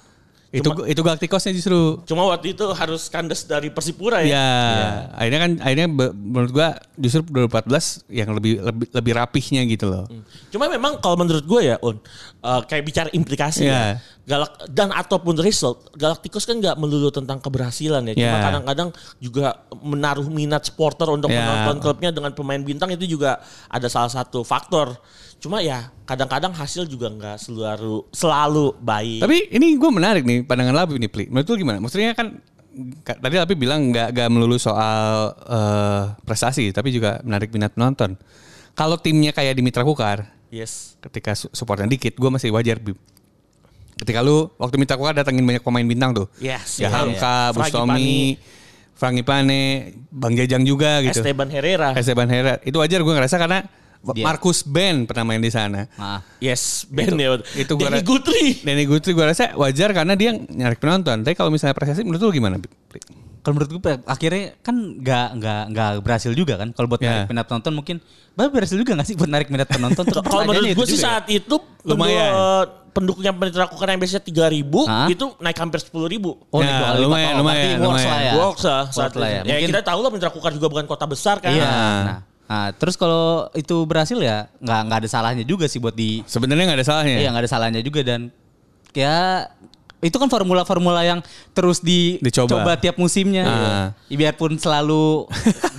Itu itu Galacticosnya justru. Cuma waktu itu harus kandas dari Persipura Ya, ya. akhirnya kan akhirnya be- menurut gua justru 2014 yang lebih lebih lebih rapihnya gitu loh. Cuma memang kalau menurut gue ya, Un, eh, kayak bicara implikasi Iya. ya. Galak dan ataupun result, Galacticos kan nggak melulu tentang keberhasilan ya. Cuma Iya. kadang-kadang juga menaruh minat supporter untuk Iya. menonton klubnya dengan pemain bintang itu juga ada salah satu faktor. Cuma ya kadang-kadang hasil juga nggak selalu selalu baik. Tapi ini gue menarik nih pandangan Labi nih, Pli. Menurut lu gimana? Maksudnya kan ka- tadi Labi bilang nggak nggak melulu soal eh, prestasi, tapi juga menarik minat penonton. Kalau timnya kayak di Mitra Kukar, yes. ketika su- supportnya dikit, gue masih wajar. Bib. Ketika lu waktu Mitra Kukar datangin banyak pemain bintang tuh, Yes. ya Hamka, Fragi Bustomi, Franky Pane, Bang Jajang juga Pani, gitu. Esteban Herrera. Esteban Herrera. Itu wajar gue ngerasa karena Dia. Markus Ben pernah main di sana. Ah. Yes, Ben ya. itu gua ra- Denny Gutri. Denny Gutri gue rasa wajar karena dia nyari penonton. Tapi kalau misalnya prestasi menurut lu gimana? Bib? Kalau menurut gue pe- akhirnya kan nggak nggak nggak berhasil juga kan. Kalau buat Iya. Ya. narik minat penonton mungkin, bah berhasil juga nggak sih buat narik minat penonton? Terus Kalau menurut gue pertanyaannya itu sih juga ya. saat itu Lumayan. pendu- pendukungnya Petra Kukan yang biasanya 3000 Hah? itu naik hampir 10.000. ribu. Oh, Ya, naik dua kali lumayan, lipat. Oh, berarti lumayan, works lumayan. lah ya. Works lah Works saat lah ya. itu. Ya, Mungkin- kita tahu lah Petra Kukan juga bukan kota besar kan. Iya. Nah. Nah, nah, terus kalau itu berhasil ya nggak nggak ada salahnya juga sih buat di Sebenarnya nggak ada salahnya. Iya nggak ada salahnya juga dan ya itu kan formula-formula yang terus di- Dicoba. coba tiap musimnya. Ah. Nah. Iya. Biarpun *laughs* selalu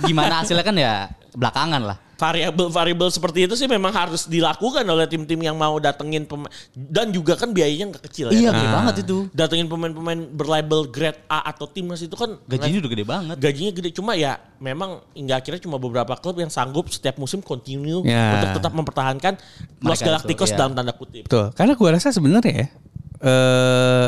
gimana hasilnya kan ya belakangan lah. Variabel-variabel seperti itu sih memang harus dilakukan oleh tim-tim yang mau datengin pemain dan juga kan biayanya nggak kecil ya. Iya gede banget itu. Datengin pemain-pemain berlabel grade A atau timnas itu kan Gajinya udah gede banget. gajinya gede cuma ya memang hingga akhirnya cuma beberapa klub yang sanggup setiap musim continue Ya. untuk tetap mempertahankan Los Iya. itu, Galacticos ya. dalam tanda kutip. Betul. Karena gua rasa sebenarnya ya, eh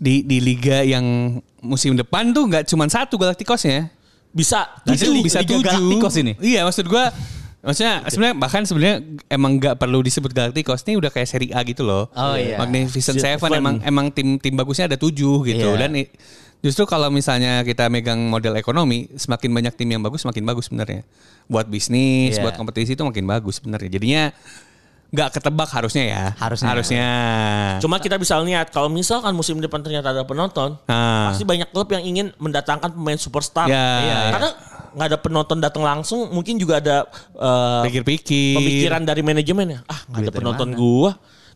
di di liga yang musim depan tuh nggak cuma satu Galacticosnya. Bisa Bisa Nah, Jadi Nah, bisa Liga tujuh. Galacticos ini? Iya, maksud gua maksudnya sebenarnya bahkan sebenarnya emang nggak perlu disebut Galacticos ini udah kayak seri A gitu loh. Oh, iya. Magnificent Seven. Seven emang emang tim tim bagusnya ada tujuh gitu Iya. dan i- justru kalau misalnya kita megang model ekonomi semakin banyak tim yang bagus semakin bagus sebenarnya buat bisnis Iya. buat kompetisi itu makin bagus sebenarnya jadinya nggak ketebak harusnya ya Harusnya. harusnya Cuma kita bisa lihat kalau misalkan musim depan ternyata ada penonton, Ah. eh, pasti banyak klub yang ingin mendatangkan pemain superstar. Ya. Iya, iya. Karena nggak ada penonton datang langsung, mungkin juga ada eh, pikir-pikir pemikiran dari manajemennya. Ah, nggak ada dari penonton gua.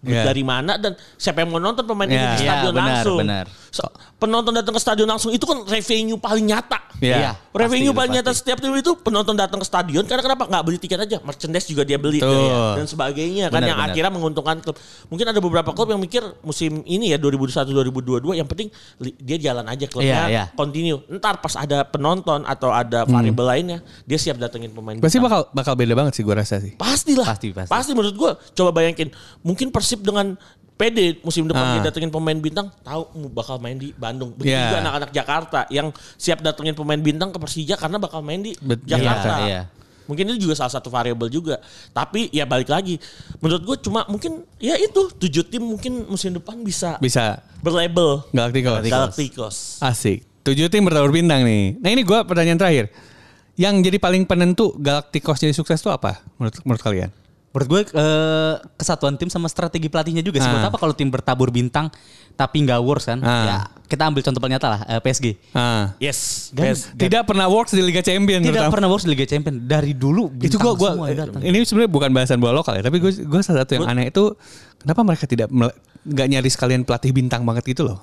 Duit Ya. dari mana dan siapa yang mau nonton pemain Ya. itu di Ya, stadion benar, langsung. benar. So- penonton datang ke stadion langsung itu kan revenue paling nyata. Iya. Iya, Revenue pasti, paling nyata pasti. setiap tim itu penonton datang ke stadion karena kenapa nggak beli tiket aja merchandise juga dia beli Betul. ya, dan sebagainya kan Benar, yang benar. akhirnya menguntungkan klub mungkin ada beberapa klub yang mikir musim ini ya 2021 2022 yang penting li- dia jalan aja klubnya Iya, iya. continue ntar pas ada penonton atau ada variabel Hmm. lainnya dia siap datengin pemain pasti bintang. bakal bakal beda banget sih gua rasa sih pastilah Pasti, pasti. menurut gua coba bayangin mungkin persib dengan PD musim depan Ah. dia datengin pemain bintang tahu mu- bakal main di Bandung begitu Iya. juga anak-anak Jakarta yang siap datengin pemain bintang ke Persija karena bakal main di Bet- Jakarta Iya, iya. Mungkin itu juga salah satu variabel juga. Tapi ya balik lagi. Menurut gue cuma mungkin ya itu tujuh tim mungkin musim depan bisa bisa berlabel Galacticos Galacticos. asik tujuh tim bertabur bintang nih nah ini gua pertanyaan terakhir yang jadi paling penentu Galacticos jadi sukses itu apa menurut menurut kalian Menurut gue eh, kesatuan tim sama strategi pelatihnya juga sih. Ah. Buat apa kalau tim bertabur bintang tapi nggak works kan? Ah. Ya, kita ambil contoh paling nyata lah eh, PSG. ah Yes. Dan Best. tidak pernah works di Liga Champion tidak terutama. pernah works di Liga Champion dari dulu itu bintang gua gua semua yang datang. ini sebenarnya bukan bahasan bola lokal ya tapi gue gue salah satu yang aneh itu kenapa mereka tidak mele- nggak nyari sekalian pelatih bintang banget gitu loh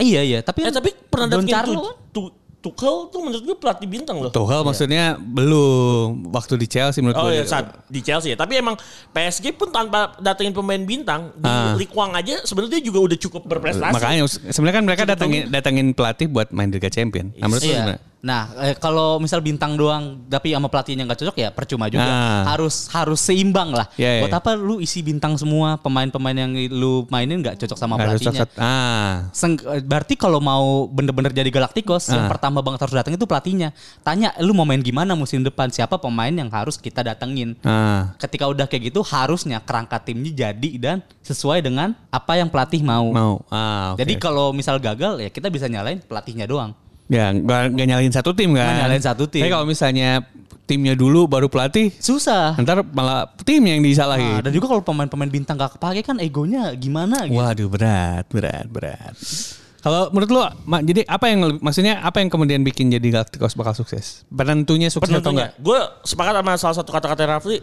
Iya iya, tapi Eh tapi pernah Don datengin Carlo tu, kan? tu, Tuchel tuh menurut gue pelatih bintang loh. Iya. Tuchel maksudnya belum waktu di Chelsea menurut Oh gue ya saat di Chelsea ya. Tapi emang PSG pun tanpa datengin pemain bintang di Ah. Ligue 1 aja sebenarnya dia juga udah cukup berprestasi. makanya sebenarnya kan mereka datangin datangin pelatih buat main Liga Champion nah, menurut lu Iya. gimana? Nah, eh, kalau misal bintang doang tapi sama pelatihnya nggak cocok ya percuma juga. Nah. Harus harus seimbang lah. Iya, iya. Buat apa lu isi bintang semua pemain-pemain yang lu mainin nggak cocok sama Harus pelatihnya? cocok. ah Seng- eh, berarti kalau mau bener-bener jadi Galacticos Ah. yang pertama banget harus datang itu pelatihnya. Tanya lu mau main gimana musim depan? Siapa pemain yang harus kita datengin? ah Ketika udah kayak gitu harusnya kerangka timnya jadi dan sesuai dengan apa yang pelatih mau. mau ah oke. Jadi kalau misal gagal ya kita bisa nyalain pelatihnya doang. ya gak, nyalain satu tim kan Nggak nyalahin satu tim. tapi kalau misalnya timnya dulu baru pelatih Susah. ntar malah tim yang Nah, disalahin dan juga kalau pemain-pemain bintang gak kepake kan egonya gimana gitu. Waduh berat, berat, berat. Kalau menurut lo, Ma, jadi apa yang lebih- maksudnya apa yang kemudian bikin jadi Galacticos bakal sukses? Penentunya sukses atau enggak? Gue sepakat sama salah satu kata-kata Rafli, eh,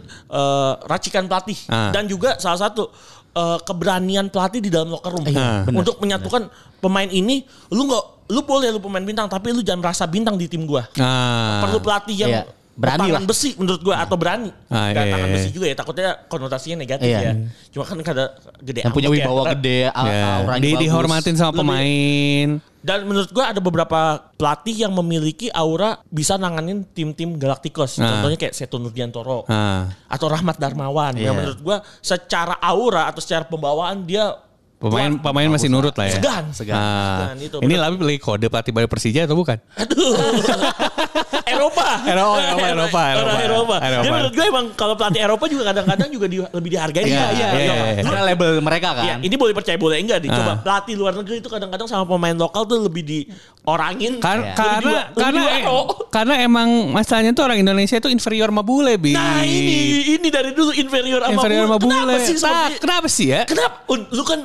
racikan pelatih Ah. dan juga salah satu eh, keberanian pelatih di dalam locker room Iya, benar, untuk menyatukan pemain ini. Lu nggak, lu boleh lu pemain bintang, tapi lu jangan merasa bintang di tim gue. Ah, Perlu pelatih yang Iya, berani tangan lah. besi menurut gue atau berani. Ah, Nggak iya, tangan iya. besi juga ya, takutnya konotasinya negatif Iya. ya. Cuma kan kada gede Yang punya amat ya. wibawa gede, a- ya. auranya Di- bagus. dihormatin sama Lebih- pemain. Dan menurut gua ada beberapa pelatih yang memiliki aura bisa nanganin tim-tim Galacticos. Ah. Contohnya kayak Seto Nurdiantoro Ah, atau Rahmat Darmawan. Yang Iya. menurut gua secara aura atau secara pembawaan dia pemain kuat. pemain masih nurut lah ya. segan. Segan. Ah, Segan, itu ini lebih pilih kode pelatih baru Persija atau bukan? Aduh. *laughs* *laughs* Eropa. Eropa, Eropa, Eropa, Orang Eropa. Eropa. Jadi menurut gua emang kalau pelatih Eropa juga kadang-kadang juga di- lebih dihargai. Iya, Iya, iya, iya. iya. Karena label mereka kan. Iya, ini boleh Ya, percaya boleh enggak dicoba Ah. pelatih luar negeri itu kadang-kadang sama pemain lokal tuh lebih di orangin Kar- Lu karena diwa- lu karena eh. diwaro. karena emang masalahnya tuh orang Indonesia itu inferior sama bule bi Nah ini ini dari dulu inferior sama inferior sama bule Kenapa sih? Nah, seperti- kenapa sih ya Kenapa? Un- Lu kan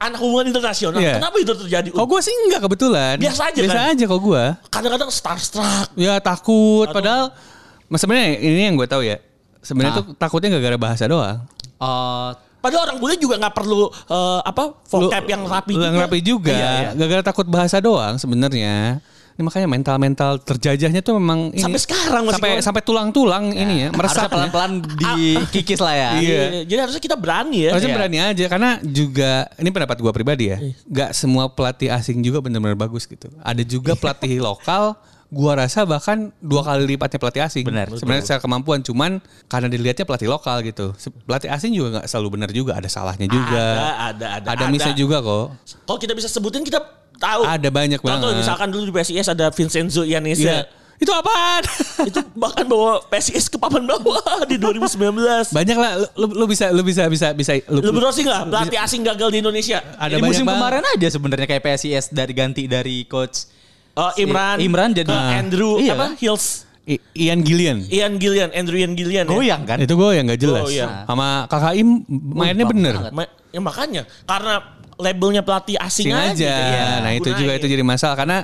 anak hubungan internasional. Iya. Kenapa itu terjadi? Un? kok gue sih enggak kebetulan Biasa aja, biasa kan? aja kok gue Kadang-kadang starstruck. ya takut padahal mas sebenarnya ini yang gue tahu ya sebenarnya Nah. Ah. tuh takutnya gara-gara bahasa doang Eh, Padahal orang bule juga nggak perlu eh, apa vocab Lu- yang rapi yang juga. rapi juga Iya, iya. gara-gara takut bahasa doang sebenarnya ini makanya mental-mental terjajahnya tuh memang ini. Sampai sekarang masih Iya. sampai keluar. sampai tulang-tulang ini ya harusnya meresap ya. pelan-pelan dikikis lah ya. Iya. Jadi harusnya kita berani ya. Harusnya Iya. berani aja karena juga ini pendapat gua pribadi ya. Gak semua pelatih asing juga benar-benar bagus gitu. Ada juga pelatih lokal gua rasa bahkan dua kali lipatnya pelatih asing. Benar. Sebenarnya secara kemampuan cuman karena dilihatnya pelatih lokal gitu. Se- Pelatih asing juga nggak selalu benar juga, ada salahnya juga. Ada, ada, ada, Ada ada. missnya juga kok. Kalau kita bisa sebutin kita tahu. Ada banyak Contoh banget. misalkan dulu di PSIS ada Vincenzo Iya. Ianesa. Itu apaan? *laughs* Itu bahkan bawa PSIS ke papan bawah *laughs* di 2019. banyak lah lu, lu- lu bisa lu bisa bisa bisa lu, Lu browsing lah pelatih asing gagal di Indonesia. Iya. ada Di banyak musim banget. kemarin aja sebenarnya kayak PSIS dari ganti dari coach Eh, Imran, Imran jadi- ke Ah. Andrew Iya apa kan? Hills, I- Ian Gillian. Ian Gillian, Andrew Ian Iya. Gillian. Oh, ya. goyang kan. Itu gue yang gak jelas. Oh, iya. Sama Kakak Im mainnya bagus bener. banget. Ma- ya makanya karena labelnya pelatih asing, asing aja. aja. Iya. Nah itu juga Gunain. itu jadi masalah karena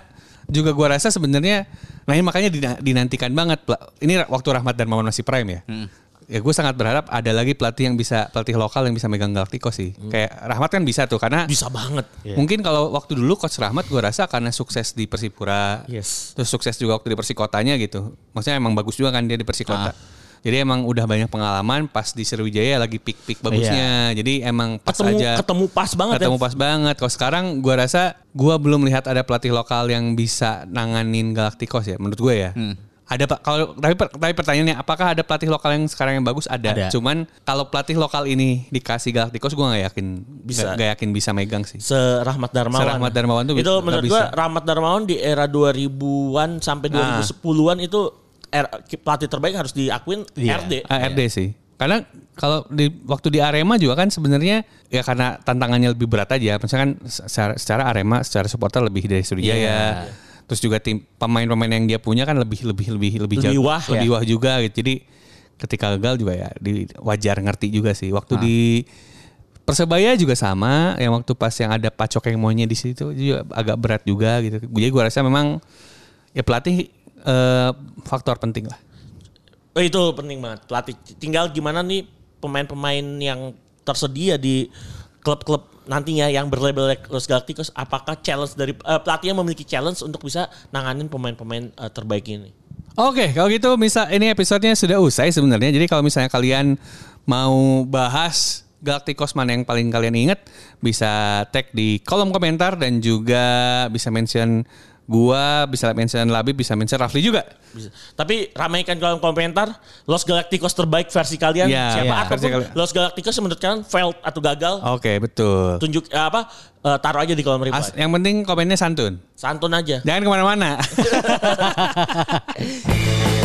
juga gua rasa sebenarnya nah ini makanya dina- dinantikan banget. Pla- Ini ra- waktu Rahmat dan Maman masih prime ya. Hmm. Ya gue sangat berharap ada lagi pelatih yang bisa pelatih lokal yang bisa megang Galactico sih. Kayak Rahmat kan bisa tuh karena Hmm. bisa banget. mungkin kalau waktu dulu coach Rahmat gua rasa karena sukses di Persipura. Yes. Terus sukses juga waktu di Persikotanya gitu. Maksudnya emang bagus juga kan dia di Persikota. Ah. Jadi emang udah banyak pengalaman pas di Sriwijaya lagi pik-pik bagusnya. Jadi emang pas Iya. Ketemu aja ketemu pas banget ketemu ya. pas banget. Kalau sekarang gua rasa gua belum lihat ada pelatih lokal yang bisa nanganin Galacticos ya menurut gue ya. Hmm. Ada Pak kalau tapi, per- tapi pertanyaannya apakah ada pelatih lokal yang sekarang yang bagus ada. Ada. Cuman kalau pelatih lokal ini dikasih Galacticos gua nggak yakin Bisa. nggak nggak yakin bisa megang sih. Serahmat Darmawan. Serahmat Darmawan tuh itu nggak menurut bisa. Nah. gua Rahmat Darmawan di era 2000-an sampai 2010-an itu er- pelatih terbaik harus diakuin Iya. RD. ARD sih. Karena kalau di waktu di Arema juga kan sebenarnya ya karena tantangannya lebih berat aja. Misalkan secara, secara Arema secara supporter lebih dari Sriwijaya. Terus juga tim pemain-pemain yang dia punya kan lebih lebih lebih lebih Lebih jago- wah, lebih wah juga gitu. Jadi ketika gagal juga ya di, wajar ngerti juga sih. Waktu di Persebaya juga sama, yang waktu pas yang ada pacok yang maunya di situ juga agak berat juga gitu. Jadi gua rasa memang ya pelatih eh, faktor penting lah. Oh, itu penting banget. Pelatih tinggal gimana nih pemain-pemain yang tersedia di klub-klub nantinya yang berlabel Los Galacticos apakah challenge dari eh, pelatih yang memiliki challenge untuk bisa nanganin pemain-pemain eh, terbaik ini. Oke, kalau gitu misal ini episodenya sudah usai sebenarnya. Jadi kalau misalnya kalian mau bahas Galacticos mana yang paling kalian ingat, bisa tag di kolom komentar dan juga bisa mention gua, bisa mention Labi, bisa mention Rafli juga. Bisa. Tapi ramaikan kolom komentar Los Galacticos terbaik versi kalian Ya, siapa ya, versi ataupun kalian. Los Galacticos yang menurut kalian failed atau gagal Oke, betul. tunjuk eh, apa eh, taruh aja di kolom reply. As- yang penting komennya santun. *laughs* Santun aja. Jangan kemana-mana.